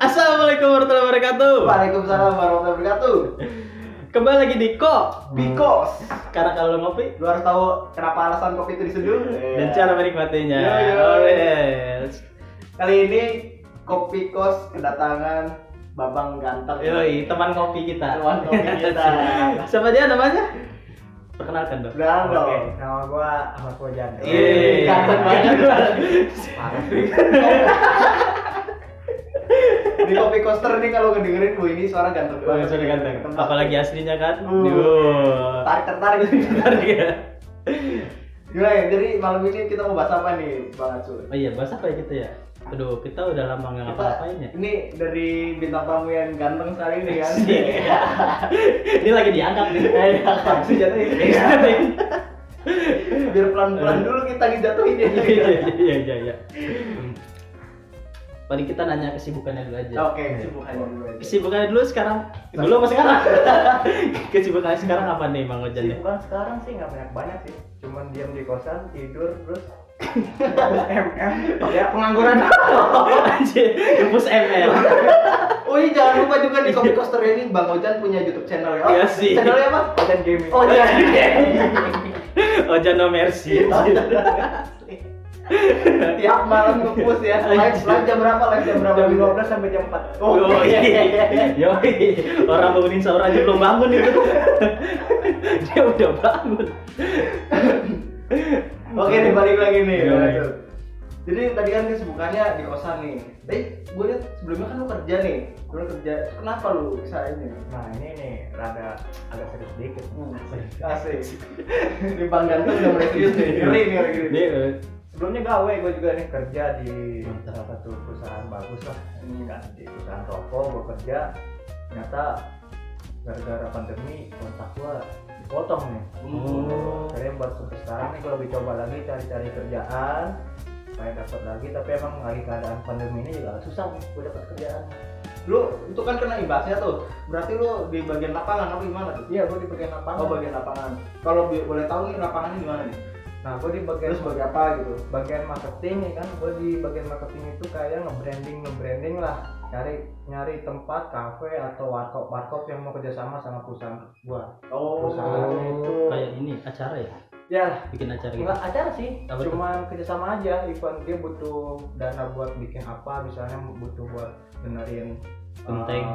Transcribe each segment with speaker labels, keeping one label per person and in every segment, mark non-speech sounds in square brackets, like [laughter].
Speaker 1: Assalamualaikum warahmatullahi wabarakatuh.
Speaker 2: Waalaikumsalam warahmatullahi wabarakatuh.
Speaker 1: Kembali lagi di Ko.
Speaker 2: Because
Speaker 1: Karena kalau lo ngopi
Speaker 2: lu harus tahu kenapa alasan kopi itu diseduh.
Speaker 1: dan cara menikmatinya.
Speaker 2: Iya.
Speaker 1: Oh,
Speaker 2: Yo, yo.
Speaker 1: Alright.
Speaker 2: Kali ini kopi kos kedatangan Babang Ganteng.
Speaker 1: Yoi, teman kopi kita.
Speaker 2: Teman
Speaker 1: [laughs]
Speaker 2: kopi kita.
Speaker 1: Siapa dia namanya? Perkenalkan dong.
Speaker 2: Berang dong.
Speaker 1: Oke.
Speaker 3: Nama gua Ahmad Wajan.
Speaker 1: Yeay.
Speaker 2: Ganteng banget.
Speaker 3: Parah.
Speaker 2: Di kopi coaster nih kalau ngedengerin gue ini suara ganteng
Speaker 1: Bang
Speaker 2: banget.
Speaker 1: Sony ganteng.
Speaker 2: Tempat.
Speaker 1: Apalagi aslinya kan.
Speaker 2: Uh.
Speaker 1: Duh.
Speaker 2: tarik
Speaker 1: [laughs]
Speaker 2: tertarik.
Speaker 1: Tarik ya.
Speaker 2: Gimana ya? Jadi malam ini kita mau bahas apa nih, Bang Acul?
Speaker 1: Oh iya, bahasa apa ya kita ya? Aduh, kita udah lama nggak ngapa-ngapain ya.
Speaker 2: ini dari bintang tamu yang ganteng sekali ini kan.
Speaker 1: Iya. Ini lagi diangkat nih.
Speaker 2: Langsung jatuhin. Biar pelan-pelan dulu kita dijatuhin ya.
Speaker 1: Iya iya iya iya. Paling kita nanya kesibukannya dulu aja.
Speaker 2: Oke, kesibukannya dulu aja.
Speaker 1: Kesibukannya dulu sekarang. Dulu apa sekarang? [laughs] Kesibukannya sekarang apa nih Bang Ojan ya?
Speaker 3: Bukan sekarang sih nggak banyak banyak sih. Cuman diam di kosan, tidur, terus MM. Ya [laughs] pengangguran.
Speaker 1: Anjir, debus ML.
Speaker 2: Oh iya jangan lupa juga di Kopi Coaster ini Bang Ojan punya YouTube channel ya. Oh,
Speaker 1: Iya sih.
Speaker 2: Channelnya apa?
Speaker 3: Konten gaming.
Speaker 2: Oh iya.
Speaker 1: Ojan no mercy. iya.
Speaker 2: Tiap malam nge-push ya. Live live jam berapa? Live jam berapa?
Speaker 3: Jam 12 sampai jam 4.
Speaker 2: Oh iya iya iya.
Speaker 1: Yoi, orang bangunin sahur aja belum bangun itu. Dia udah bangun.
Speaker 2: Oke nih balik lagi nih.
Speaker 1: Iya,
Speaker 2: Bang
Speaker 1: balik.
Speaker 2: Ojan. Jadi tadi kan kesibukannya di kosan nih. Tapi gue lihat sebelumnya kan lu kerja nih. Lu kerja. Kenapa lu bisa ini? Hmm,
Speaker 3: Nah ini nih rada agak serius sedikit.
Speaker 2: Asik. Iya. Di Bang Ganteng udah mulai serius nih. Ngeri nih ngeri, ngeri.
Speaker 1: Ini eh,
Speaker 3: Sebelumnya gawe gue juga nih kerja di
Speaker 1: Mantap.
Speaker 3: salah satu perusahaan bagus lah.
Speaker 2: Hmm.
Speaker 3: Kan di perusahaan rokok gue kerja. Ternyata gara-gara pandemi kontak gue dipotong nih.
Speaker 1: Oh.
Speaker 3: Saya buat sampai sekarang nih gue lebih coba lagi cari-cari kerjaan supaya dapat lagi tapi emang lagi keadaan pandemi ini juga susah nih gue dapat kerjaan
Speaker 2: Lu itu kan kena imbasnya tuh. Berarti lu di bagian lapangan apa gimana tuh?
Speaker 3: iya gue di bagian lapangan
Speaker 2: Oh bagian lapangan. Kalau bi- boleh tahu nih lapangannya di mana nih?
Speaker 3: nah gue di bagian
Speaker 2: Terus sebagai apa gitu?
Speaker 3: bagian marketing ya kan gue di bagian marketing itu kayak nge-branding nge-branding lah nyari nyari tempat kafe atau warkop warkop yang mau kerjasama sama perusahaan gue
Speaker 2: Oh.
Speaker 3: Perusahaan itu
Speaker 1: kayak ini acara ya?
Speaker 3: ya lah
Speaker 1: Bikin acara gitu.
Speaker 3: Enggak acara sih,
Speaker 1: Apa tuh?
Speaker 3: cuman kerjasama aja. Event dia butuh dana buat bikin apa, misalnya butuh buat benerin eh,
Speaker 1: Genteng.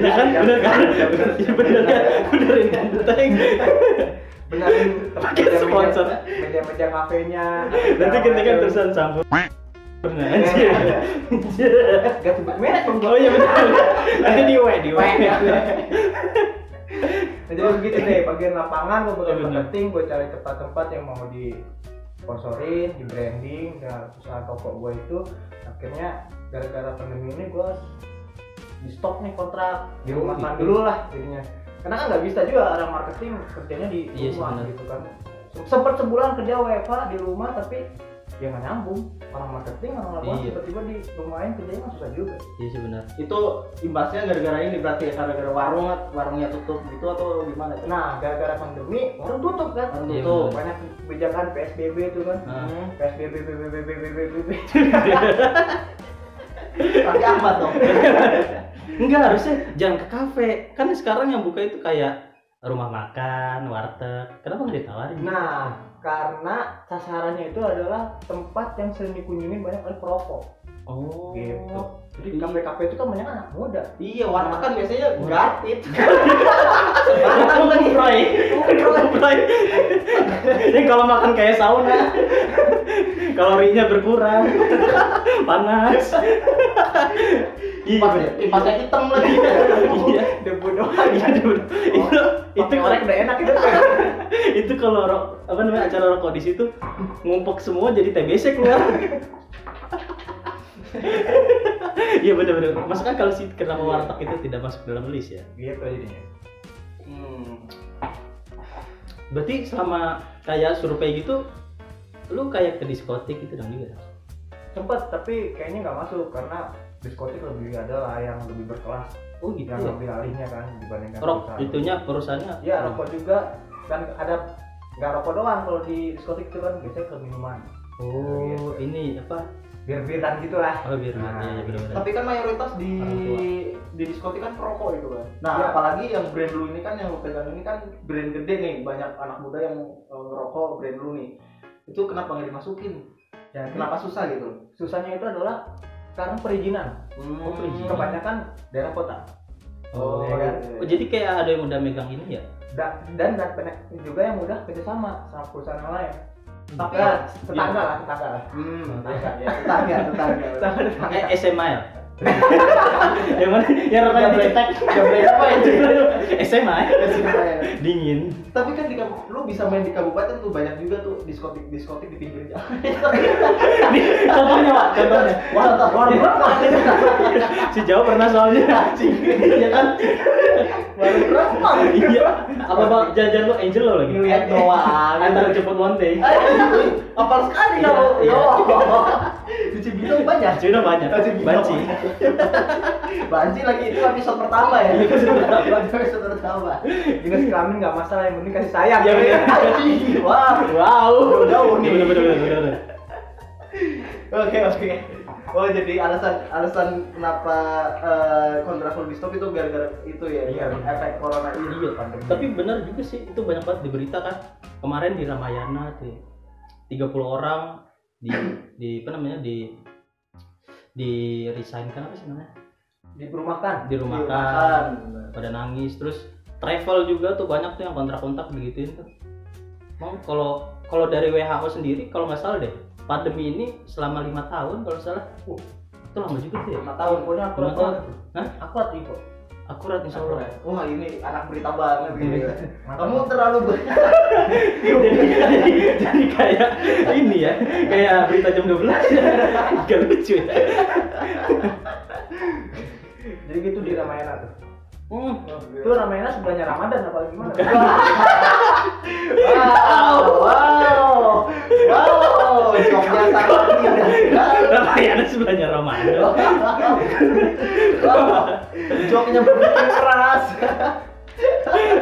Speaker 1: Ya kan? Bener kan? Bener kan? Benerin genteng.
Speaker 2: Kan
Speaker 3: benerin
Speaker 1: Pakai sponsor.
Speaker 3: meja-meja kafenya.
Speaker 1: Nanti gentengnya terusan campur. Bener anjir. Anjir.
Speaker 3: Gak sebut merek dong.
Speaker 1: Oh iya [laughs] benar. Nanti di W, di W.
Speaker 3: Nah, jadi begitu deh, bagian lapangan gue
Speaker 1: Iya,
Speaker 3: bagian
Speaker 1: bener.
Speaker 3: marketing, gue cari tempat-tempat yang mau di sponsorin, di branding, dan usaha toko gue itu akhirnya gara-gara pandemi ini gue di stop nih kontrak di rumah
Speaker 1: Gitu.
Speaker 3: dulu lah jadinya karena kan nggak bisa juga orang marketing kerjanya di
Speaker 1: Iya sih,
Speaker 3: rumah
Speaker 1: bener.
Speaker 3: gitu kan sempet sebulan kerja WFH di rumah tapi ya nggak nyambung orang marketing orang lapangan
Speaker 1: Iya.
Speaker 3: tiba-tiba di rumahin kerjanya kan susah juga
Speaker 1: Iya sih benar.
Speaker 2: Itu imbasnya gara-gara ini berarti ya gara-gara warung warungnya tutup gitu atau gimana? tuh?
Speaker 3: nah gara-gara pandemi orang tutup kan
Speaker 2: Warung
Speaker 1: Iya,
Speaker 2: tutup.
Speaker 1: bener.
Speaker 3: banyak kebijakan PSBB itu kan
Speaker 1: Ah.
Speaker 2: Hmm.
Speaker 3: PSBB PSBB PSBB
Speaker 2: Tapi amat [laughs] dong.
Speaker 1: Enggak harusnya jangan ke kafe. Kan sekarang yang buka itu kayak rumah makan, warteg. Kenapa nggak ditawarin?
Speaker 3: nah karena sasarannya itu adalah tempat yang sering dikunjungi banyak oleh perokok
Speaker 1: oh.
Speaker 3: gitu jadi
Speaker 1: Iya.
Speaker 3: kafe-kafe itu kan banyak anak muda
Speaker 2: iya warteg kan biasanya [laughs] gratis.
Speaker 1: Makan lagi
Speaker 2: Iya,
Speaker 1: Roy. Roy. Ini kalau makan kayak sauna. Kalorinya berkurang. Panas. Iya.
Speaker 2: Pipasnya pipasnya hitam [laughs] lagi.
Speaker 1: Iya.
Speaker 3: debu doang
Speaker 1: Iya, Dul. Itu itu
Speaker 3: itu orang udah enak itu kan
Speaker 1: itu kalau ro- apa namanya acara rokok di situ ngumpuk semua jadi TBC keluar. Iya benar-benar. Maksudnya kalau si kenapa warteg itu tidak masuk dalam list ya?
Speaker 3: gitu jadinya
Speaker 2: Hmm.
Speaker 1: Berarti selama kayak survei gitu, lu kayak ke diskotik gitu dong juga. dong?
Speaker 3: sempet tapi kayaknya nggak masuk karena diskotik lebih ada lah yang lebih berkelas
Speaker 1: Oh gitu.
Speaker 3: yang
Speaker 1: Ya?
Speaker 3: lebih alihnya kan dibandingkan
Speaker 1: Rok
Speaker 3: perusahaan.
Speaker 1: itunya perusahaannya.
Speaker 3: ya rokok juga kan ada nggak rokok doang kalau di diskotik itu kan biasanya ke minuman
Speaker 1: oh ini apa
Speaker 3: bir-biran gitulah
Speaker 1: oh biar
Speaker 3: Nah,
Speaker 1: iya, iya, benar-benar.
Speaker 2: Tapi kan mayoritas di
Speaker 1: Orang tua.
Speaker 2: di diskotik kan perokok itu kan. Nah,
Speaker 3: Iya.
Speaker 2: apalagi yang brand lu ini kan yang lu pegang ini kan brand gede nih, banyak anak muda yang eh, ngerokok brand lu nih. Itu kenapa nggak dimasukin?
Speaker 3: ya
Speaker 2: Kenapa susah gitu?
Speaker 3: susahnya itu adalah karena perizinan
Speaker 2: Hmm.
Speaker 1: Oh, perizinan.
Speaker 3: kebanyakan daerah kota
Speaker 1: oh,
Speaker 3: Iya kan?
Speaker 1: oh, jadi kayak ada yang udah megang ini ya
Speaker 3: Da- dan dan pen- juga yang mudah kerjasama sama perusahaan yang lain
Speaker 1: Tapi-
Speaker 3: ya, tetangga lah tetangga lah
Speaker 2: Hmm,
Speaker 1: Iya.
Speaker 2: iya, iya, tetangga, tetangga.
Speaker 3: sama tetangga
Speaker 1: eh SMA ya yang mana yang
Speaker 2: Yang
Speaker 1: renang
Speaker 2: brand-
Speaker 1: cetek
Speaker 2: yang brand apa
Speaker 1: [laughs]
Speaker 2: ya?
Speaker 1: SMA ya?
Speaker 2: Tetangga.
Speaker 1: dingin
Speaker 2: Tapi kan di kabu- lu bisa main di kabupaten tuh banyak juga tuh diskotik diskotik di pinggir jalan.
Speaker 1: contohnya pak contohnya
Speaker 2: Warteg, warteg.
Speaker 1: si Jawa pernah soalnya anjing ya kan
Speaker 2: Baru berapa?
Speaker 1: iya apa bang jajan lu Angel lo lagi
Speaker 2: Ngeliat doang.
Speaker 1: antar jemput one day
Speaker 2: Apal sekali
Speaker 1: Iya,
Speaker 2: kamu.
Speaker 1: iya.
Speaker 2: Ya Allah. Di Cibitung banyak.
Speaker 1: Cuy udah banyak,
Speaker 2: Masih bingung.
Speaker 1: banci.
Speaker 2: Banci lagi itu episode pertama ya. Episode
Speaker 1: Iya.
Speaker 2: pertama. episode pertama.
Speaker 3: jenis kelamin nggak masalah yang penting kasih sayang
Speaker 1: Iya, bener.
Speaker 2: Anjing, Wah.
Speaker 1: Wow,
Speaker 2: Jauh-jauh nih.
Speaker 1: Bener, bener, bener, bener.
Speaker 2: Oke oke. Oh jadi alasan alasan kenapa eh, kontrak full stop itu gara-gara itu ya
Speaker 3: Iya.
Speaker 2: efek corona ini.
Speaker 1: Iya, tapi benar juga sih itu banyak banget diberita kan. Kemarin di Ramayana tuh 30 orang di di apa namanya di di resign kan apa sih namanya?
Speaker 3: di perumahkan
Speaker 1: Di rumah kan pada nangis terus travel juga tuh banyak tuh yang kontrak-kontrak begituin tuh. Mau kalau kalau dari WHO sendiri kalau nggak salah deh pandemi ini selama lima tahun kalau nggak salah
Speaker 3: Oh.
Speaker 1: itu lama juga tuh ya
Speaker 3: nggak tahu pokoknya aku
Speaker 1: Nggak tahu. Hah?
Speaker 3: aku aku info
Speaker 1: akurat insya Allah
Speaker 2: Wah ini anak berita banget gitu ya.
Speaker 1: Iya.
Speaker 3: kamu
Speaker 2: Kamu terlalu banyak.
Speaker 1: jadi, jadi, jadi kayak ini ya kayak berita jam 12 ya gak lucu ya
Speaker 3: jadi gitu di Ramayana tuh
Speaker 1: hmm.
Speaker 3: itu Ramayana sebelahnya Ramadan apa gimana
Speaker 2: Wow, wow, wow, joknya sangat indah sekali.
Speaker 1: Ramayana sebelahnya Ramadan
Speaker 2: Wow, joknya begitu keras.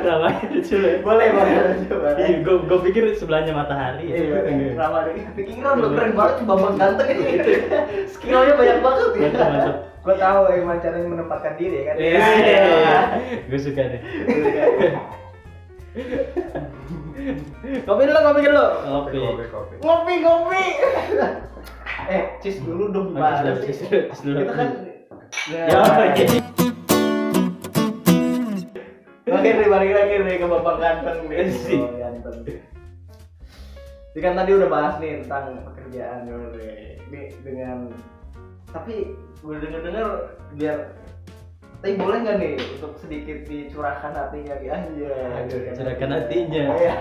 Speaker 1: Ramayana sebelahnya
Speaker 2: Boleh, boleh, coba.
Speaker 1: Iya, gue gue pikir sebelahnya matahari ya.
Speaker 2: Iya, Ramadhan. Thinking round lo keren banget, bambang ganteng ini. Skillnya banyak banget ya.
Speaker 1: Mantap, mantap.
Speaker 3: gue tahu gimana caranya menempatkan diri kan
Speaker 1: Iya,
Speaker 2: Iya.
Speaker 1: gue suka deh. Kopi dulu, kopi dulu. Kopi.
Speaker 3: kopi
Speaker 2: Ngopi, ngopi. Eh, cheese dulu dong,
Speaker 1: Oke,
Speaker 2: Pak.
Speaker 1: sudah, sudah, sudah.
Speaker 2: Kita kan.
Speaker 1: Ya, oke.
Speaker 2: Oke, nih balik lagi nih ke Bapak Ganteng nih.
Speaker 1: Iya Sih.
Speaker 2: Bapak Ganteng. Jadi kan tadi udah bahas nih tentang pekerjaan dulu nih. Ini dengan tapi gue denger-denger biar tapi boleh nggak nih untuk sedikit dicurahkan hatinya nih aja
Speaker 1: Curahkan hatinya.
Speaker 2: Iya.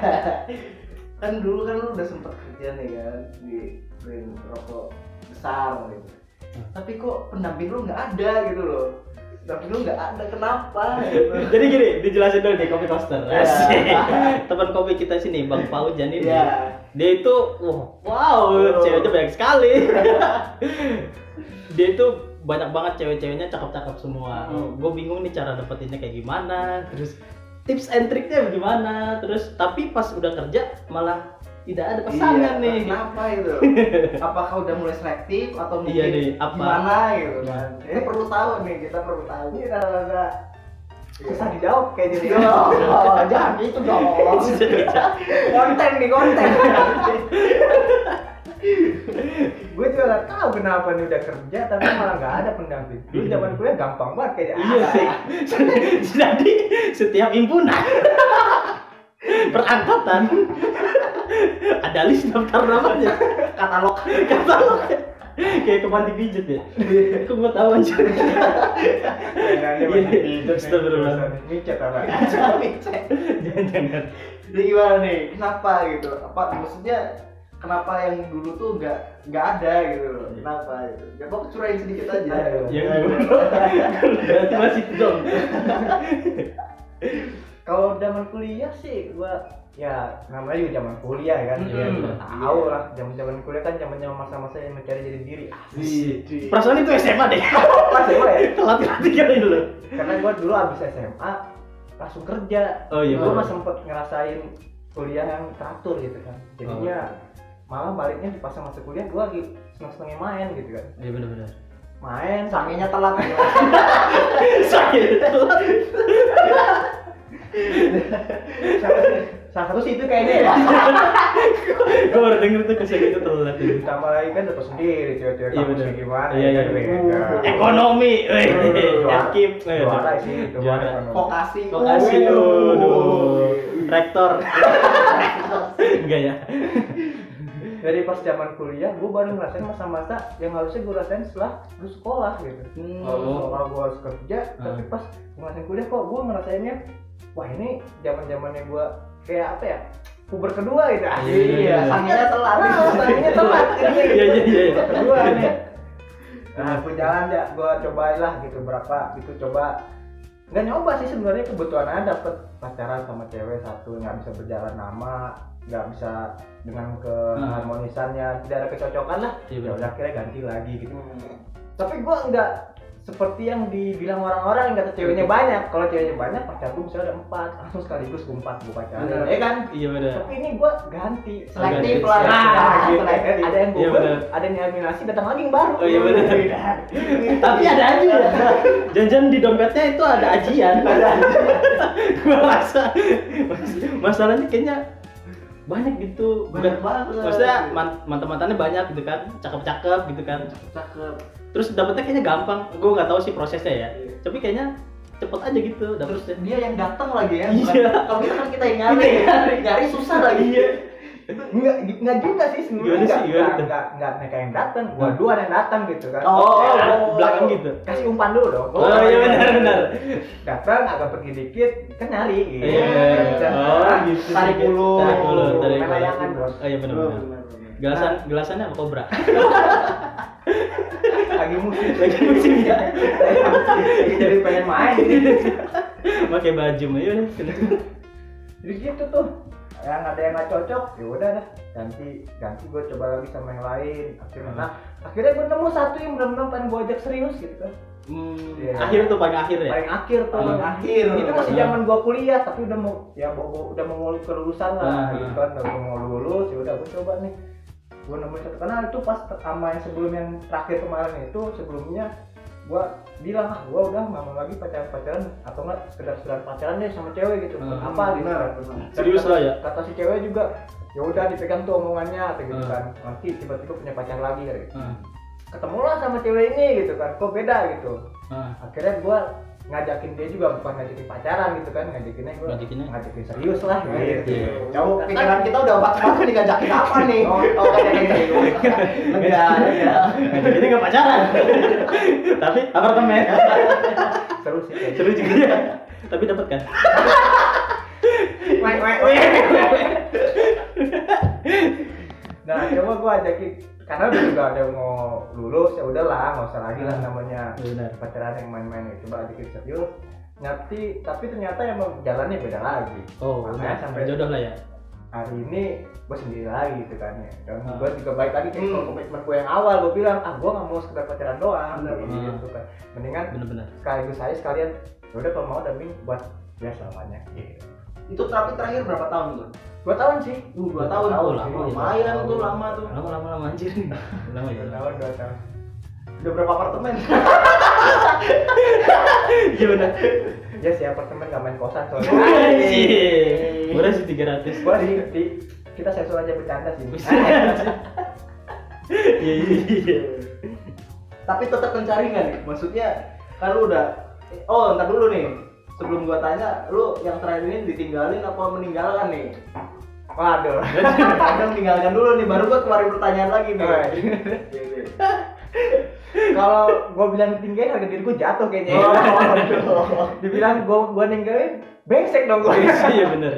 Speaker 2: kan dulu kan lu udah sempet kerja nih kan di brand rokok besar gitu
Speaker 1: Hmm.
Speaker 2: tapi kok pendamping lu nggak ada gitu loh pendamping lu nggak ada kenapa gitu
Speaker 1: Jadi gini, dijelasin dulu nih kopi Iya. coaster.
Speaker 2: Ya.
Speaker 1: [laughs] Asik. Teman kopi kita sini Bang Paujan ini.
Speaker 2: Iya.
Speaker 1: Dia itu wah, wow,
Speaker 2: Oh.
Speaker 1: ceweknya banyak sekali. [laughs] dia itu banyak banget cewek-ceweknya cakep-cakep semua.
Speaker 2: Hmm.
Speaker 1: Gue bingung nih cara dapetinnya kayak gimana, terus tips and triknya gimana, terus tapi pas udah kerja malah tidak ada
Speaker 2: Iya,
Speaker 1: pasangan nih. [laughs]
Speaker 2: kenapa itu apakah udah mulai selektif atau mungkin
Speaker 1: Iya nih, apa? Iya.
Speaker 2: gimana gitu kan ini perlu tahu nih kita perlu tahu
Speaker 3: ini rada-rada susah dijawab kayak jadi
Speaker 2: Oh, jangan gitu
Speaker 1: [laughs]
Speaker 2: dong.
Speaker 3: konten nih konten gue juga gak tahu kenapa nih udah kerja tapi malah nggak ada pendamping dulu
Speaker 1: Iya.
Speaker 3: zaman kuliah gampang banget kayak
Speaker 1: Iya sih. [laughs] Jadi setiap [laughs] himpunan perangkatan ada list daftar namanya.
Speaker 2: Katalog.
Speaker 1: Kata lo kayak- kayak kepanti pijet ya. Kok gua tahu anjir. Iya, iya. Astagfirullah.
Speaker 3: micet apa
Speaker 1: Jangan-jangan.
Speaker 2: Jadi gimana nih? Kenapa gitu? Apa maksudnya kenapa yang dulu tuh nggak nggak ada gitu loh? Kenapa gitu? Ya kok curahin sedikit aja.
Speaker 3: Ayo.
Speaker 1: Yang dulu. Berarti masih dong.
Speaker 3: kalau zaman kuliah sih gua ya namanya juga zaman kuliah kan
Speaker 1: Hmm.
Speaker 2: Mm-mm.
Speaker 3: ya udah
Speaker 1: Iya.
Speaker 3: tahu lah zaman zaman kuliah kan zaman zaman masa-masa yang mencari jati diri
Speaker 1: Iya.
Speaker 2: Di-
Speaker 1: Perasaan itu SMA deh.
Speaker 3: pas gua ya
Speaker 1: Telat latih kali dulu.
Speaker 3: karena gua dulu abis SMA langsung kerja
Speaker 1: Oh iya.
Speaker 3: gua
Speaker 1: bener. Oh.
Speaker 3: mah sempet ngerasain kuliah yang teratur gitu kan jadinya malah baliknya dipasang masa kuliah gue lagi seneng senengnya main gitu kan
Speaker 1: iya benar-benar
Speaker 3: main
Speaker 2: sangenya
Speaker 1: [laughs]
Speaker 2: telat ya.
Speaker 1: sakit
Speaker 3: salah satu sih itu kayaknya
Speaker 1: Iya.
Speaker 3: ya
Speaker 1: gue baru denger tuh kesel itu telat ini.
Speaker 3: ditambah lagi kan dapat sendiri cewek-cewek
Speaker 1: Iya,
Speaker 3: kampusnya
Speaker 1: bener.
Speaker 3: gimana
Speaker 1: Iya, iya,
Speaker 3: kan,
Speaker 1: iya.
Speaker 3: beda.
Speaker 1: ekonomi eh
Speaker 3: Juara.
Speaker 1: skip eh,
Speaker 3: juara sih juara
Speaker 1: Juara.
Speaker 3: ekonomi.
Speaker 2: Vokasi. Iya.
Speaker 1: lokasi
Speaker 2: Wuh.
Speaker 1: tuh aduh. rektor enggak ya
Speaker 3: dari pas zaman kuliah gue baru ngerasain masa-masa yang harusnya gue rasain setelah gue sekolah gitu
Speaker 2: Hmm.
Speaker 1: Oh.
Speaker 3: kalau gue sekolah gue harus kerja
Speaker 1: Hmm.
Speaker 3: tapi pas gue ngerasain kuliah kok gue ngerasainnya wah ini zaman zamannya gue kayak apa ya puber kedua gitu
Speaker 1: Iya, iya, iya.
Speaker 2: Sangenya telat.
Speaker 3: Wah, sangenya telat
Speaker 1: iya iya iya iya.
Speaker 3: Puber kedua nih nah aku jalan ya gue cobain lah gitu berapa gitu coba nggak nyoba sih sebenarnya kebutuhan aja dapet pacaran sama cewek satu nggak bisa berjalan lama nggak bisa dengan keharmonisannya tidak ada kecocokan lah
Speaker 1: Iya,
Speaker 3: ya
Speaker 1: benar.
Speaker 3: udah akhirnya ganti lagi gitu
Speaker 2: Hmm.
Speaker 3: tapi gua nggak seperti yang dibilang orang-orang yang kata ceweknya banyak kalau ceweknya banyak pacar gua misalnya ada empat langsung sekaligus gua empat gua pacaran
Speaker 2: Bener.
Speaker 3: ya kan
Speaker 1: iya benar
Speaker 3: tapi ini gua ganti
Speaker 2: Selektif
Speaker 1: Agak
Speaker 2: lah.
Speaker 1: ada
Speaker 3: nah,
Speaker 2: Nah,
Speaker 3: gitu.
Speaker 2: selektif.
Speaker 3: ada yang
Speaker 1: Iya,
Speaker 3: gugur
Speaker 1: bener.
Speaker 3: ada yang eliminasi datang lagi yang baru
Speaker 1: Oh, iya, bener.
Speaker 2: Tapi ada aja ya.
Speaker 1: Jangan-jangan di dompetnya itu ada ajian. Gua rasa mas- masalahnya kayaknya banyak gitu. Bukan-
Speaker 2: Banyak banget.
Speaker 1: Maksudnya man- mantan-mantannya banyak gitu kan, cakep-cakep gitu kan.
Speaker 2: Cakep.
Speaker 1: Terus dapetnya kayaknya gampang. Gue nggak tahu sih prosesnya ya. Tapi kayaknya cepet aja gitu
Speaker 2: Terus
Speaker 1: dapetnya.
Speaker 2: dia yang datang lagi ya.
Speaker 1: Iya.
Speaker 2: bukan- Kalau kita kan kita yang
Speaker 1: Kita
Speaker 2: nyari,
Speaker 1: yang nyari.
Speaker 2: nyari susah lagi. Iya.
Speaker 3: Nggak, nggak juga sih
Speaker 1: Gimana sih,
Speaker 3: sebenarnya nggak
Speaker 1: gimana
Speaker 3: nggak
Speaker 1: tuh? Hmm.
Speaker 3: nggak nggak mereka yang datang gua dua yang datang gitu kan
Speaker 2: Oh,
Speaker 1: Kayak ada
Speaker 2: oh.
Speaker 1: belakang gitu.
Speaker 3: kasih umpan dulu dong
Speaker 1: Oh, iya benar-benar.
Speaker 3: datang agak pergi dikit kan nyari gitu.
Speaker 1: Iya.
Speaker 3: Dan-
Speaker 1: Oh, gitu.
Speaker 2: Tarik
Speaker 1: dulu,
Speaker 2: ulur.
Speaker 1: tarik ulur, tarik
Speaker 3: Main layangan,
Speaker 1: ulur.
Speaker 3: Bos.
Speaker 1: Oh iya benar-benar. Gelasan gelasannya apa kobra?
Speaker 3: lagi musim
Speaker 1: Lagi musim ya.
Speaker 3: jadi pengen main
Speaker 1: [laughs] Pakai baju Iya, ayo deh.
Speaker 3: jadi gitu tuh yang ada yang nggak cocok ya udah dah ganti ganti gue coba lagi sama yang lain akhirnya
Speaker 1: Hmm.
Speaker 3: nah akhirnya gue nemu satu yang benar-benar pengen gue ajak serius gitu kan
Speaker 1: Hmm,
Speaker 3: Iya.
Speaker 1: akhir tuh paling akhir ya.
Speaker 3: paling akhir tuh Nah,
Speaker 1: Paling
Speaker 2: Nah, akhir.
Speaker 3: itu kan masih
Speaker 1: Hmm.
Speaker 3: zaman gua kuliah tapi udah mau ya gua, gua udah mau kelulusan lah
Speaker 1: Hmm.
Speaker 3: gitu kan udah mau lulus ya udah gua coba nih gua nemuin satu kenal itu pas sama yang sebelum yang terakhir kemarin itu sebelumnya gua bilang ah gua udah nggak mau lagi pacaran pacaran atau nggak sekedar sekedar pacaran deh sama cewek gitu
Speaker 1: Hmm.
Speaker 3: apa gitu
Speaker 2: Benar,
Speaker 3: kan.
Speaker 2: benar.
Speaker 3: Dan
Speaker 1: Serius
Speaker 3: kata-
Speaker 1: lah ya?
Speaker 3: kata si cewek juga ya udah dipegang tuh omongannya atau gitu
Speaker 1: Hmm.
Speaker 3: kan nanti tiba-tiba punya pacar lagi gitu.
Speaker 1: Heeh.
Speaker 3: ketemulah sama cewek ini gitu kan kok beda gitu
Speaker 1: Heeh.
Speaker 3: akhirnya gue ngajakin dia juga bukan ngajakin pacaran gitu kan ngajakinnya gue
Speaker 1: Ngajakinnya?
Speaker 3: ngajakin serius lah gitu
Speaker 1: Iya.
Speaker 2: Jauh
Speaker 3: kan.
Speaker 2: pikiran kita udah obat-obatan nih ngajakin apa nih?
Speaker 3: Oh,
Speaker 2: Oh, kayak gitu. Lega, lega.
Speaker 1: [laughs] Nah, Jadi nggak [laughs] pacaran. Tapi apartemen.
Speaker 3: [laughs] seru sih kayak
Speaker 1: Seru juga ya. Tapi dapat kan?
Speaker 3: gitu. Weh, weh, weh, weh. [laughs] nah coba gue ajakin karena udah juga ada mau lulus ya udahlah nggak usah lagi lah
Speaker 1: Hmm.
Speaker 3: namanya
Speaker 1: Benar.
Speaker 3: pacaran yang main-main ya coba ajakin serius nyati tapi ternyata emang jalannya beda lagi
Speaker 1: Oh,
Speaker 3: Makanya
Speaker 1: udah.
Speaker 3: sampai-
Speaker 1: jodoh lah ya.
Speaker 3: hari ini gue sendiri lagi gitu kan ya dan
Speaker 1: Hmm.
Speaker 3: gue juga baik lagi ke
Speaker 2: Ah. Hmm.
Speaker 3: komitmen gue yang awal gue bilang ah gue nggak mau sekedar pacaran doang
Speaker 2: Bener.
Speaker 3: gitu kan mendingan
Speaker 1: Bener-bener.
Speaker 3: sekaligus saya sekalian "Ya udah kalau mau demi buat ya selamanya gitu
Speaker 2: Itu terapi terakhir berapa tahun tuh?
Speaker 3: dua tahun sih
Speaker 2: Uh, dua tahun.
Speaker 3: Tahun,
Speaker 1: lama
Speaker 3: sih.
Speaker 1: ya.
Speaker 2: Lumayan tuh, lama tuh.
Speaker 1: Lama lama lama anjir. Lama ya.
Speaker 3: dua tahun dua tahun
Speaker 2: Udah berapa [laughs] apartemen?
Speaker 1: Iya benar.
Speaker 3: ya sih apartemen gak main kosan soalnya
Speaker 1: Anjir. Murah sih 300.
Speaker 3: gue di, di- kita sensor aja bercanda
Speaker 2: [laughs]
Speaker 3: sih
Speaker 1: Iya iya iya.
Speaker 2: Tapi tetap mencari nggak nih? Maksudnya kan lu udah Oh, ntar dulu nih. Sebelum gua tanya, lu yang terakhir ini ditinggalin apa meninggalkan nih?
Speaker 3: waduh
Speaker 2: Ada meninggalkan dulu nih, baru gua keluarin pertanyaan lagi nih.
Speaker 3: Oke. kalau gue bilang tinggalin harga diri gue jatuh kayaknya
Speaker 2: Oh,
Speaker 3: [laughs] dibilang gue gue ninggalin bengsek dong gue
Speaker 1: Iya benar.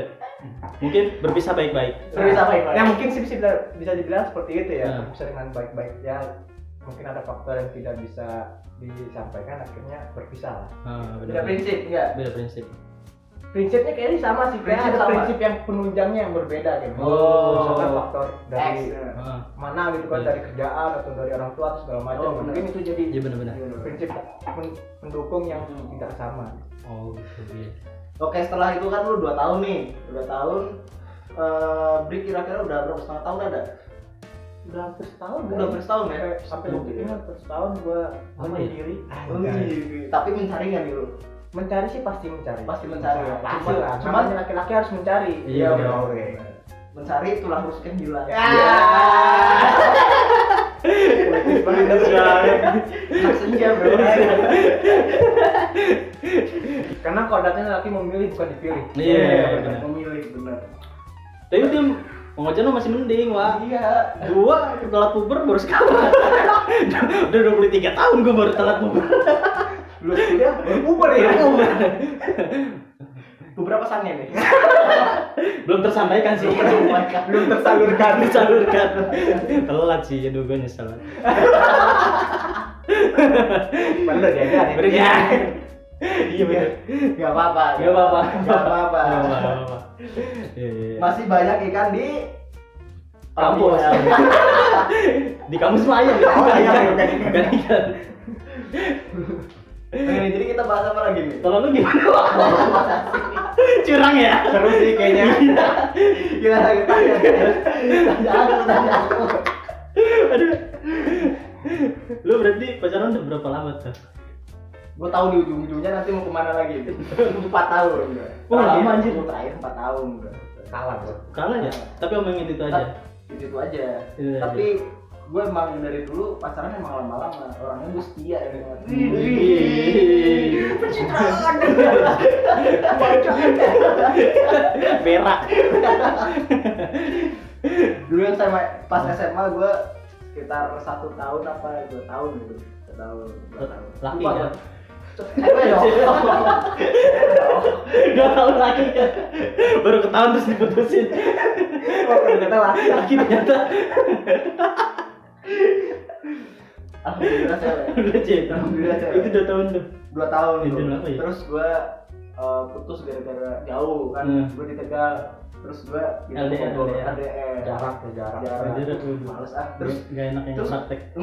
Speaker 1: Mungkin berpisah baik-baik.
Speaker 2: Terus bisa apa, Iqbal?
Speaker 3: Ya mungkin sih bisa, dibilang- bisa dibilang seperti itu ya,
Speaker 1: Hmm.
Speaker 3: bisa dengan baik-baik ya. Mungkin ada faktor yang tidak bisa disampaikan akhirnya berpisah lah.
Speaker 1: Ah, benar.
Speaker 2: Beda prinsip nggak?
Speaker 1: Beda prinsip.
Speaker 3: Prinsipnya kayaknya sama sih, kayaknya
Speaker 2: Prinsip
Speaker 3: ada
Speaker 2: sama.
Speaker 3: prinsip yang penunjangnya yang berbeda gitu.
Speaker 1: Oh.
Speaker 3: Misalkan faktor dari
Speaker 2: X.
Speaker 1: Heeh.
Speaker 3: mana gitu kan
Speaker 1: Iya.
Speaker 3: dari kerjaan atau dari orang tua atau segala macam.
Speaker 2: Oh, benar.
Speaker 3: mungkin itu jadi
Speaker 1: Iya benar-benar.
Speaker 3: prinsip men- pendukung yang
Speaker 2: Hmm.
Speaker 3: tidak sama.
Speaker 1: Oh, gitu iya.
Speaker 2: Oke, setelah itu kan lu 2 tahun nih. 2 tahun eh break kira-kira udah berapa setengah tahun ada?
Speaker 3: udah hampir setahun
Speaker 2: Udah hampir setahun ya?
Speaker 3: Sampai- sampai
Speaker 1: Iya.
Speaker 3: detik ini hampir setahun gua
Speaker 1: Lama ya?
Speaker 3: menyendiri
Speaker 2: Wih, tapi mencari nggak nih lu
Speaker 3: mencari sih pasti mencari
Speaker 2: Pasti mencari.
Speaker 3: pasti lah
Speaker 2: Cuman-
Speaker 3: cuman laki-laki harus mencari
Speaker 1: Iya,
Speaker 3: Iya,
Speaker 1: benar.
Speaker 3: oke.
Speaker 2: mencari tulang rusuk yang hilang
Speaker 3: Ya.
Speaker 2: Ya.
Speaker 1: Iya,
Speaker 2: Politis banget, Hak senja bro
Speaker 1: Iya,
Speaker 3: karena kodratnya laki memilih bukan dipilih
Speaker 1: Iya, iya,
Speaker 2: bener.
Speaker 1: bener.
Speaker 2: memilih bener
Speaker 1: Tapi dia pengajian lu masih mending, Wak.
Speaker 2: iya
Speaker 1: Gua telat puber baru sekarang. Udah 23 tahun gua baru telat puber.
Speaker 2: lu sudah
Speaker 3: Uber
Speaker 1: Iya.
Speaker 3: ya
Speaker 2: beberapa sange nih
Speaker 1: Belum tersampaikan
Speaker 2: Iya,
Speaker 1: sih.
Speaker 3: belum tersalurkan
Speaker 1: Disalurkan. Telat sih, aduh gua nyesel.
Speaker 3: perlu dia kan
Speaker 1: Berarti. Iya bener.
Speaker 2: Gak apa-apa
Speaker 1: Gak apa-apa.
Speaker 2: Gak apa-apa
Speaker 1: Gak apa-apa. Iya, iya, iya.
Speaker 2: Masih banyak ikan di
Speaker 1: Kampus. [laughs] Di kampus mah ayam. ya?
Speaker 2: Oh, ayam,
Speaker 1: Bukan
Speaker 2: bukan ikan.
Speaker 1: bukan ikan.
Speaker 2: Oke, Jadi kita bahas apa lagi nih?
Speaker 1: Kalau lu gimana,
Speaker 2: [laughs]
Speaker 1: Wak? Curang ya?
Speaker 3: seru sih
Speaker 2: [laughs]
Speaker 3: kayaknya
Speaker 2: Iya. Gimana kita? Tanya aku, tanya aku
Speaker 1: Aduh. Lu berarti pacaran udah berapa lama tuh?
Speaker 2: Gue tau di ujung-ujungnya nanti mau kemana lagi 4 tahun gue
Speaker 1: Wah, lama, anjir.
Speaker 2: Gue terakhir 4 tahun gue
Speaker 3: kalah bro
Speaker 1: Kalah ya? Tapi omong itu itu aja. Iya,
Speaker 2: Itu itu aja
Speaker 1: Itu aja.
Speaker 2: Tapi gue emang dari dulu pacaran emang lama-lama Orangnya gue setia ya
Speaker 1: Wih.
Speaker 2: Pencitraan Bacaan
Speaker 1: Berak.
Speaker 2: dulu yang SMA pas SMA gue sekitar satu tahun apa dua tahun gitu satu tahun dua tahun
Speaker 1: Laki
Speaker 2: Lupa
Speaker 1: ya?
Speaker 2: gua.
Speaker 1: Eh,
Speaker 2: cewek
Speaker 3: [laughs]
Speaker 2: dong
Speaker 1: [laughs] Dua tahun lagi ya. Baru ketahuan terus diputusin.
Speaker 3: Wah, ternyata laki
Speaker 1: Laki ternyata
Speaker 2: alhamdulillah cewek
Speaker 1: udah cewek.
Speaker 2: Alhamdulillah, cewek.
Speaker 1: Itu dua tahun tuh.
Speaker 2: dua tahun
Speaker 1: Itu
Speaker 2: tuh.
Speaker 1: berapa ya?
Speaker 2: terus gue putus gara-gara jauh kan
Speaker 1: Hmm.
Speaker 2: gue di tegal terus gitu, gue di
Speaker 1: LDR.
Speaker 2: Bogor, LDR
Speaker 3: jarak ya
Speaker 2: Jarak.
Speaker 3: jarak
Speaker 1: Jarak, waduh.
Speaker 2: males ah
Speaker 1: Terus
Speaker 2: terus
Speaker 1: gak enak yang
Speaker 2: terus-
Speaker 1: praktek.
Speaker 2: [laughs]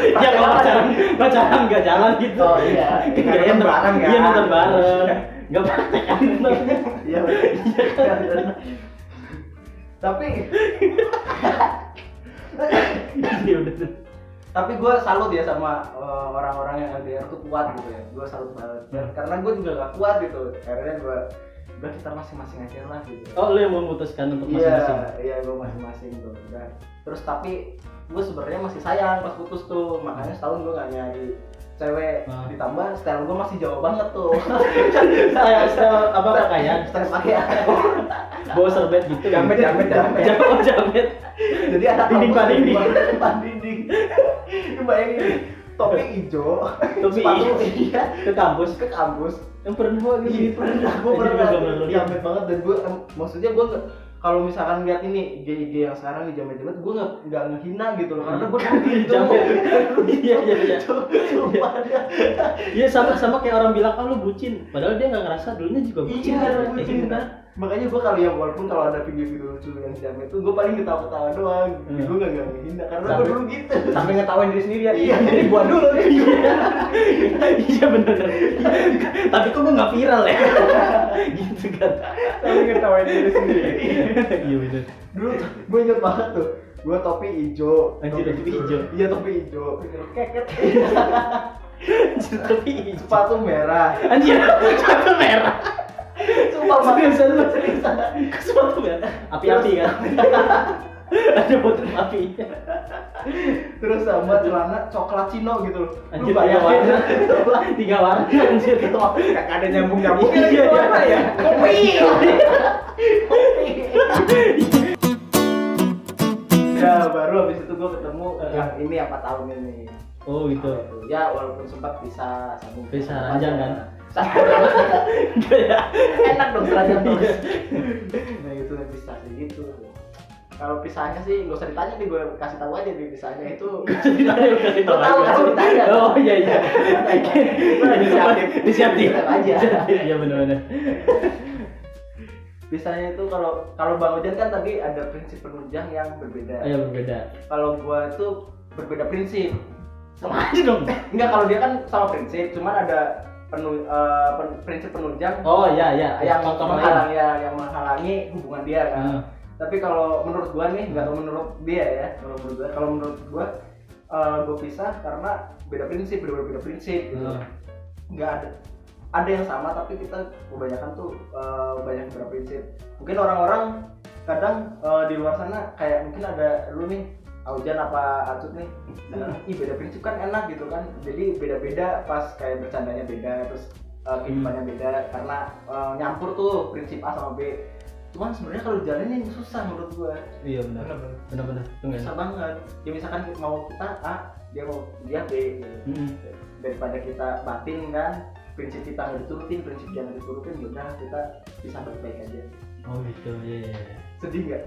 Speaker 1: Ya
Speaker 2: ya
Speaker 1: kalau pacaran, pacaran gak jalan gitu.
Speaker 2: oh iya
Speaker 1: [laughs] Gak
Speaker 3: nonton
Speaker 1: enak.
Speaker 3: bareng, kan?
Speaker 1: Iya nonton bareng. Gak praktek kan nonton.
Speaker 2: Iya. kan?
Speaker 1: [laughs]
Speaker 2: tapi
Speaker 1: Iya udah tuh.
Speaker 2: tapi gue salut ya sama eh, orang-orang yang LDR tuh kuat gitu ya. Gue salut banget.
Speaker 1: Hmm.
Speaker 2: Dan karena gue juga gak kuat gitu. Akhirnya gue udah kita masing-masing aja lah gitu.
Speaker 1: Oh lu yang memutuskan untuk masing-masing.
Speaker 2: Iya, iya gue masing-masing tuh. Udah. Terus tapi gue sebenarnya masih sayang pas putus tuh. Makanya
Speaker 1: Hmm.
Speaker 2: setahun gue gak nyari cewek.
Speaker 1: Ah.
Speaker 2: Ditambah style gue masih jauh banget tuh.
Speaker 1: Saya saya apa pakaian?
Speaker 2: [laughs] Style pakaian.
Speaker 1: Bawa serbet gitu.
Speaker 3: jamet jamet jamet
Speaker 1: Jamet jamet.
Speaker 2: jadi ada
Speaker 1: Dinding,
Speaker 2: kampus
Speaker 1: dinding.
Speaker 2: di bawah depan dinding [laughs] Lu bayangin topi hijau
Speaker 1: Topi
Speaker 2: sepatu
Speaker 1: hijau.
Speaker 2: iya
Speaker 1: Ke kampus.
Speaker 2: ke kampus
Speaker 1: Yang pernah gua gitu.
Speaker 2: Ih, Iya, pernah gue
Speaker 1: Jadi
Speaker 2: pernah
Speaker 1: gua nggak
Speaker 2: diambil banget dan gue maksudnya gue kalau misalkan lihat ini IG IG yang sekarang di jamet jamet gue nggak nggak ngehina gitu loh karena gue topi hijau [laughs]
Speaker 1: Jamet. Iya iya iya.
Speaker 2: Sumpah dia.
Speaker 1: Iya sama sama kayak orang bilang ah lu bucin, padahal dia nggak ngerasa dulunya juga bucin.
Speaker 2: Iya,
Speaker 1: Kayak
Speaker 2: bucin.
Speaker 1: gitu kan.
Speaker 2: makanya gue kalau ya walaupun kalau ada video-video lucu yang di jamet tuh gue paling ketawa-ketawa doang
Speaker 1: Hmm.
Speaker 2: gue nggak nggak ngehina karena gue
Speaker 1: Tapi-
Speaker 2: dulu gitu
Speaker 3: sampai ngetawain diri sendiri ya
Speaker 2: Iya.
Speaker 3: ini gua dulu nih
Speaker 1: Iya. Iya [laughs] benar.
Speaker 2: Iya.
Speaker 1: Tapi kok gua nggak viral
Speaker 2: [laughs]
Speaker 1: ya? Gitu kan.
Speaker 3: sampai ngetawain diri sendiri
Speaker 1: Iya benar.
Speaker 2: dulu gue inget banget tuh gue topi hijau
Speaker 1: Anjir, topi hijau.
Speaker 2: iya topi hijau
Speaker 3: keket
Speaker 1: Anjir, Tapi hijau.
Speaker 2: sepatu merah
Speaker 1: Anjir, sepatu merah.
Speaker 2: sumpah
Speaker 1: [laughs] Seriusan lu?
Speaker 2: seriusan
Speaker 1: Sepatu merah. Api-api kan. [laughs] Ada botol api.
Speaker 2: terus sama celana coklat cino gitu loh
Speaker 1: Anjir, tiga warna. ya. [laughs] Tiga warna anjir.
Speaker 3: kagak ada nyambung nyambung
Speaker 1: Iya, iya.
Speaker 3: ya
Speaker 2: kopi ya baru habis itu gue ketemu
Speaker 1: Eh.
Speaker 2: yang ini yang 4 tahun ini
Speaker 1: Oh gitu.
Speaker 2: ya walaupun sempat bisa sambung
Speaker 1: Bisa, ranjang kan? Enggak ya.
Speaker 2: [laughs] enak dong seragam dong
Speaker 1: Iya.
Speaker 2: nah itu yang pisah sih gitu kalau pisahnya sih nggak usah ditanya nih gue kasih tahu aja nih pisahnya itu
Speaker 1: Ditanya lu kasih
Speaker 2: Lu tahu, kasih ditanya.
Speaker 1: Oh iya iya. [laughs] Disiapin. Disiapin.
Speaker 2: Tetap aja.
Speaker 1: Disiapin. Iya benar-benar.
Speaker 2: pisahnya itu kalau kalau bang Ojan kan tadi ada prinsip penunjang yang berbeda
Speaker 1: Ayo berbeda.
Speaker 2: kalau gue itu berbeda prinsip
Speaker 1: Sama aja dong.
Speaker 2: enggak kalau dia kan sama prinsip cuman ada penu, eh, pen- prinsip penunjang
Speaker 1: Oh iya iya.
Speaker 2: yang
Speaker 1: Faktor lain.
Speaker 2: menghalangi yang, yang menghalangi hubungan dia kan
Speaker 1: Ah.
Speaker 2: tapi kalau menurut gua nih nggak tahu menurut dia ya kalau menurut gua kalau menurut gua eh, gua pisah karena beda prinsip beda beda prinsip gitu
Speaker 1: Hmm.
Speaker 2: nggak ada ada yang sama tapi kita kebanyakan tuh eh, banyak berprinsip mungkin orang-orang kadang eh, di luar sana kayak mungkin ada lu nih Aujan apa Acut nih kadang, ih beda prinsip kan enak gitu kan jadi beda-beda pas kayak bercandanya beda terus eh, kehidupannya beda karena eh, nyampur tuh prinsip A sama B cuman sebenarnya kalau jalanin susah menurut gua
Speaker 1: iya benar benar-benar itu nggak
Speaker 2: susah
Speaker 1: enak
Speaker 2: banget ya misalkan mau kita A dia mau dia B gitu
Speaker 1: Mm-mm.
Speaker 2: daripada kita batin kan prinsip kita nggak diturutin prinsip dia nggak diturutin
Speaker 3: ya
Speaker 2: yaudah kita bisa baik-baik aja
Speaker 1: oh gitu iya iya iya.
Speaker 2: sedih
Speaker 1: [laughs]
Speaker 2: nggak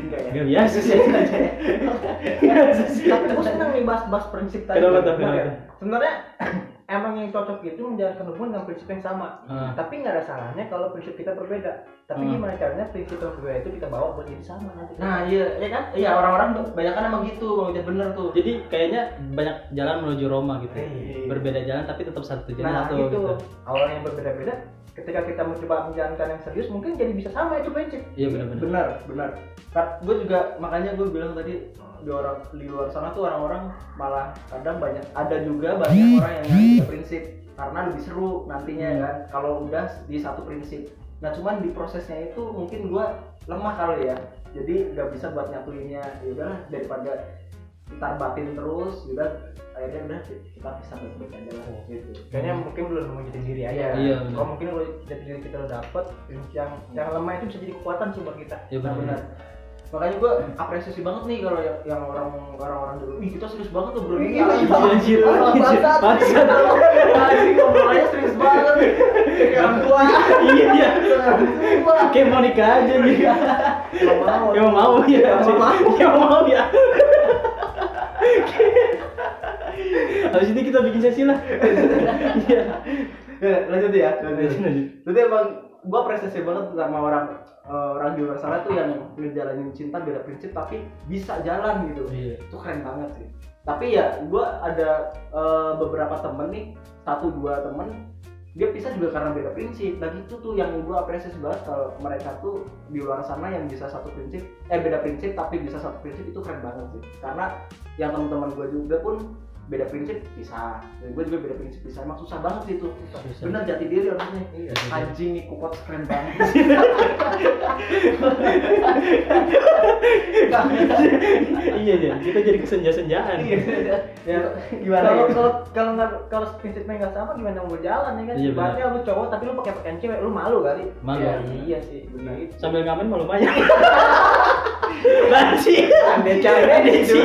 Speaker 2: nggak ya
Speaker 1: nggak biasa sih
Speaker 3: tapi gue seneng nih bahas-bahas prinsip tadi
Speaker 1: Kenapa tuh,
Speaker 3: Bener ya?
Speaker 1: kenapa
Speaker 3: sebenarnya emang yang cocok itu menjalankan hubungan dengan prinsip yang sama
Speaker 1: Ah.
Speaker 3: tapi nggak ada salahnya kalau prinsip kita berbeda tapi
Speaker 1: Hmm.
Speaker 3: gimana caranya prinsip yang berbeda itu kita bawa buat jadi sama nanti
Speaker 2: nah iya ya kan iya orang-orang banyak kan emang gitu bang Ujan bener tuh
Speaker 1: jadi kayaknya banyak jalan menuju Roma gitu ya.
Speaker 3: Iya.
Speaker 1: berbeda jalan tapi tetap satu jalan
Speaker 3: nah
Speaker 1: satu
Speaker 3: itu
Speaker 1: gitu
Speaker 3: awalnya yang berbeda-beda ketika kita mencoba menjalankan yang serius mungkin jadi bisa sama itu prinsip
Speaker 1: iya benar-benar
Speaker 2: benar benar gue juga makanya gue bilang tadi di orang di luar sana tuh orang-orang malah kadang banyak ada juga banyak orang yang nggak punya prinsip karena lebih seru nantinya kan kalau udah di satu prinsip nah cuman di prosesnya itu mungkin gue lemah kali ya jadi nggak bisa buat nyatuinnya ya udahlah daripada kita batin terus gitu akhirnya udah kita bisa baik-baik aja lah gitu
Speaker 3: kayaknya mungkin belum nemu jadi diri aja
Speaker 1: Hmm. Iya,
Speaker 3: kalau mungkin lo jadi diri kita udah dapet prinsip yang yang lemah itu bisa jadi kekuatan sih buat kita
Speaker 1: iya
Speaker 2: Nah,
Speaker 1: benar
Speaker 2: benar. Makanya gue apresiasi banget nih kalau yang, yang orang orang orang dulu. Ih kita serius banget tuh bro. Ini
Speaker 3: Iya,
Speaker 2: anjing,
Speaker 3: iya.
Speaker 2: anjing,
Speaker 3: Bangsat.
Speaker 2: bangsat. Anjing, ngobrolannya serius banget. Kayak orang tua.
Speaker 1: iya iya
Speaker 2: Orang tua.
Speaker 1: kayak Monica aja nih
Speaker 2: Nggak mau.
Speaker 1: yang mau ya
Speaker 2: Yang mau.
Speaker 1: yang mau ya Habis ini kita bikin sesi lah. Iya.
Speaker 2: Ya, Lanjut ya.
Speaker 1: Lanjut, lanjut.
Speaker 2: Jadi emang gue apresiasi banget sama orang eh, orang di luar sana tuh yang ngejalanin cinta beda prinsip tapi bisa jalan gitu.
Speaker 1: Iya.
Speaker 2: itu keren banget sih tapi ya gue ada eh, beberapa temen nih satu dua temen dia pisah juga karena beda prinsip dan itu tuh yang gue apresiasi banget kalau mereka tuh di luar sana yang bisa satu prinsip eh beda prinsip tapi bisa satu prinsip itu keren banget sih karena yang teman-teman gue juga pun beda prinsip pisah dan gue juga beda prinsip pisah emang susah banget sih itu
Speaker 1: Susah.
Speaker 2: bener jati diri harusnya
Speaker 3: iya
Speaker 2: anjing nih kupot keren banget
Speaker 1: [laughs] Iya iya. Kita jadi kesenja-senjaan.
Speaker 2: ya, gimana
Speaker 3: Iya. kalau
Speaker 2: ya?
Speaker 3: kalau kalau nggak- kalau prinsipnya nggak sama gimana mau jalan ya kan
Speaker 1: Iya, benar.
Speaker 3: berarti lu cowok tapi lu pakai pakaian cewek lu malu kali
Speaker 1: Malu.
Speaker 2: Iya, iya sih bener
Speaker 3: Gitu.
Speaker 1: Sambil ngamen malu [laughs] lumayan. Banci.
Speaker 3: ambil cewek
Speaker 1: Gizi.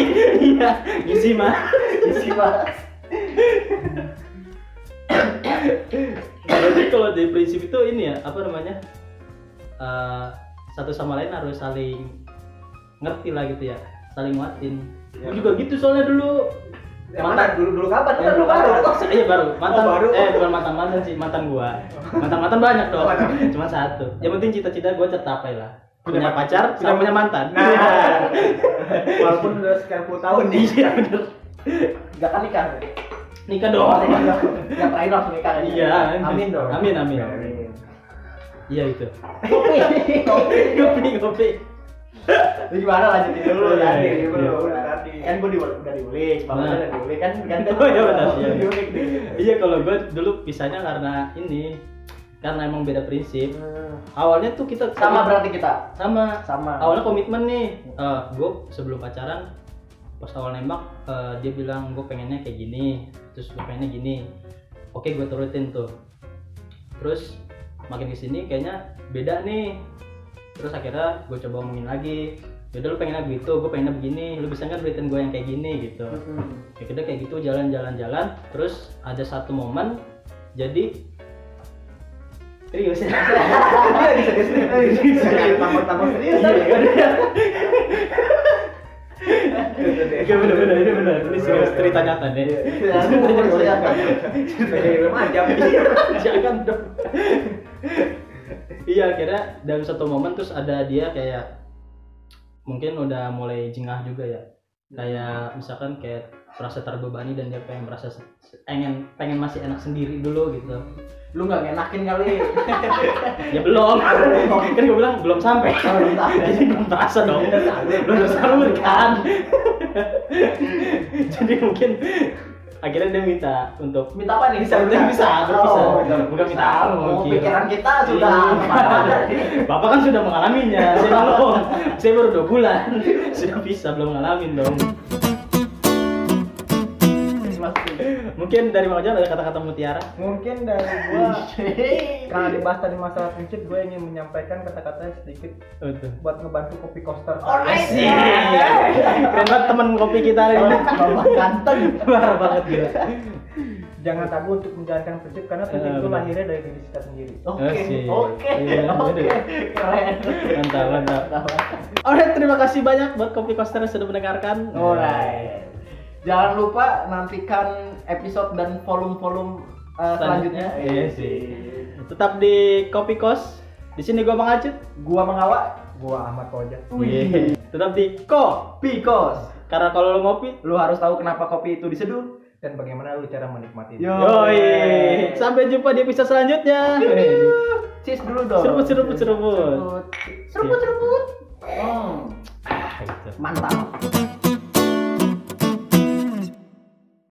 Speaker 1: Iya. Gizi mah.
Speaker 2: Isi banget
Speaker 1: Berarti kalau dari prinsip itu ini ya apa namanya? Eh, satu sama lain harus saling ngerti lah gitu ya saling nguatin
Speaker 2: Iya.
Speaker 1: Gua juga gitu soalnya dulu
Speaker 3: yang mana dulu dulu kapan kan lu baru
Speaker 1: Iya baru. Mantan
Speaker 3: Oh, baru.
Speaker 1: eh bukan mantan mantan sih, mantan gua. Mantan mantan banyak dong. Cuma satu. Yang penting cita-cita gua tercapai lah.
Speaker 3: Punya
Speaker 1: Punya
Speaker 3: man-
Speaker 1: pacar,
Speaker 3: punya-
Speaker 1: sama punya mantan.
Speaker 3: Nah. [laughs] walaupun udah sekian puluh tahun nih
Speaker 1: Iya bener.
Speaker 2: Gak kan nikah ya?
Speaker 1: Nikah dong.
Speaker 2: Yang terakhir harus nikah ya?
Speaker 1: Iya.
Speaker 3: amin dong
Speaker 1: Amin amin.
Speaker 3: Amin.
Speaker 1: Iya itu.
Speaker 2: Kopi.
Speaker 1: Kopi kopi.
Speaker 2: Lu gimana lanjutin dulu
Speaker 1: Iya,
Speaker 2: tadi
Speaker 1: iya,
Speaker 2: gua
Speaker 1: iya.
Speaker 2: udah- udah tadi. Kan gua di udah diulik,
Speaker 1: Nah.
Speaker 2: bapaknya udah diulik kan kan kan.
Speaker 1: Oh, iya, benar, iya.
Speaker 2: Diulik nih.
Speaker 1: Iya kalau gua dulu pisahnya karena ini karena emang beda prinsip. Awalnya tuh kita
Speaker 2: Sama berarti kita.
Speaker 1: sama
Speaker 2: Sama.
Speaker 3: Nah.
Speaker 1: awalnya komitmen nih gue sebelum pacaran pas awal nembak eh, dia bilang gue pengennya kayak gini terus gue pengennya gini oke gue turutin tuh terus makin kesini kayaknya beda nih terus akhirnya gue coba omongin lagi yaudah lu pengennya begitu gue pengennya begini lu bisa nggak beritain gue yang kayak gini gitu ya kita kayak gitu jalan-jalan-jalan terus ada satu momen jadi serius ya?
Speaker 3: Iya, bisa disini. Jangan tambah-tambah
Speaker 1: [laughs] Iya,
Speaker 3: serius tapi.
Speaker 1: iya.
Speaker 3: Gitu deh.
Speaker 1: Iya benar-benar ini benar. Ini iya. serius
Speaker 3: iya.
Speaker 1: cerita nyata deh. [laughs]
Speaker 2: Ya, lu mau
Speaker 1: Iya.
Speaker 2: bersiap.
Speaker 3: Dari remaja.
Speaker 1: Jangan dong. [laughs] Iya akhirnya dalam satu momen terus ada dia kayak mungkin udah mulai jengah juga ya. kayak misalkan kayak merasa terbebani dan dia pengen merasa se- pengen pengen masih enak sendiri dulu gitu
Speaker 2: lu nggak ngenakin kali
Speaker 1: ya belum [laughs] kan gue bilang belum sampai [laughs] jadi belum terasa dong belum terasa kan [laughs] jadi mungkin akhirnya dia minta untuk
Speaker 2: minta apa nih bisa
Speaker 1: Belum bisa, belum bisa.
Speaker 2: Oh,
Speaker 1: iya. Bukan minta apa,
Speaker 2: Oh,
Speaker 1: gila. Iya.
Speaker 2: pikiran kita sudah
Speaker 1: [laughs]
Speaker 2: kemana-mana.
Speaker 1: Bapak kan sudah mengalaminya, saya belum. Saya baru dua bulan, sudah bisa belum ngalamin dong. iya, Mungkin dari Bang Jan ada kata-kata mutiara.
Speaker 3: mungkin dari gua
Speaker 1: iya,
Speaker 3: karena dibahas tadi masalah prinsip gue ingin menyampaikan kata-kata sedikit
Speaker 1: Oh, tuh.
Speaker 3: buat ngebantu kopi coaster
Speaker 2: Alright.
Speaker 1: Asik.
Speaker 3: Iya.
Speaker 1: Keren banget teman kopi kita hari ini.
Speaker 2: Bapak ganteng
Speaker 1: Parah banget gila.
Speaker 3: jangan ragu untuk menjalankan prinsip karena prinsip
Speaker 1: Eh,
Speaker 3: itu
Speaker 1: benar.
Speaker 3: lahirnya dari diri kita sendiri
Speaker 2: Oke,
Speaker 1: Asik.
Speaker 2: oke,
Speaker 1: Iya,
Speaker 2: oke,
Speaker 1: bener.
Speaker 2: keren.
Speaker 1: Mantap, mantap. Alright, terima kasih banyak buat kopi coaster yang sudah mendengarkan.
Speaker 2: Alright. Jangan lupa nantikan episode dan volume-volume uh, selanjutnya.
Speaker 1: Selanjutnya, iya sih. Tetap di Kopi Kos. Di sini gua Bang Acit.
Speaker 2: Gua mengawak.
Speaker 3: gua Ahmad Koja
Speaker 1: Iya. Tetap di Ko.
Speaker 2: Because
Speaker 1: Karena kalau lo ngopi,
Speaker 2: lu harus tahu kenapa kopi itu diseduh.
Speaker 3: dan bagaimana lu cara menikmati
Speaker 2: Yo.
Speaker 1: Yoi. Sampai jumpa di episode selanjutnya.
Speaker 2: Cheers dulu dong.
Speaker 1: Seruput, seruput, Iya. seruput.
Speaker 2: Seruput, seruput. seruput. Hmm,
Speaker 1: Ah, gitu.
Speaker 2: mantap.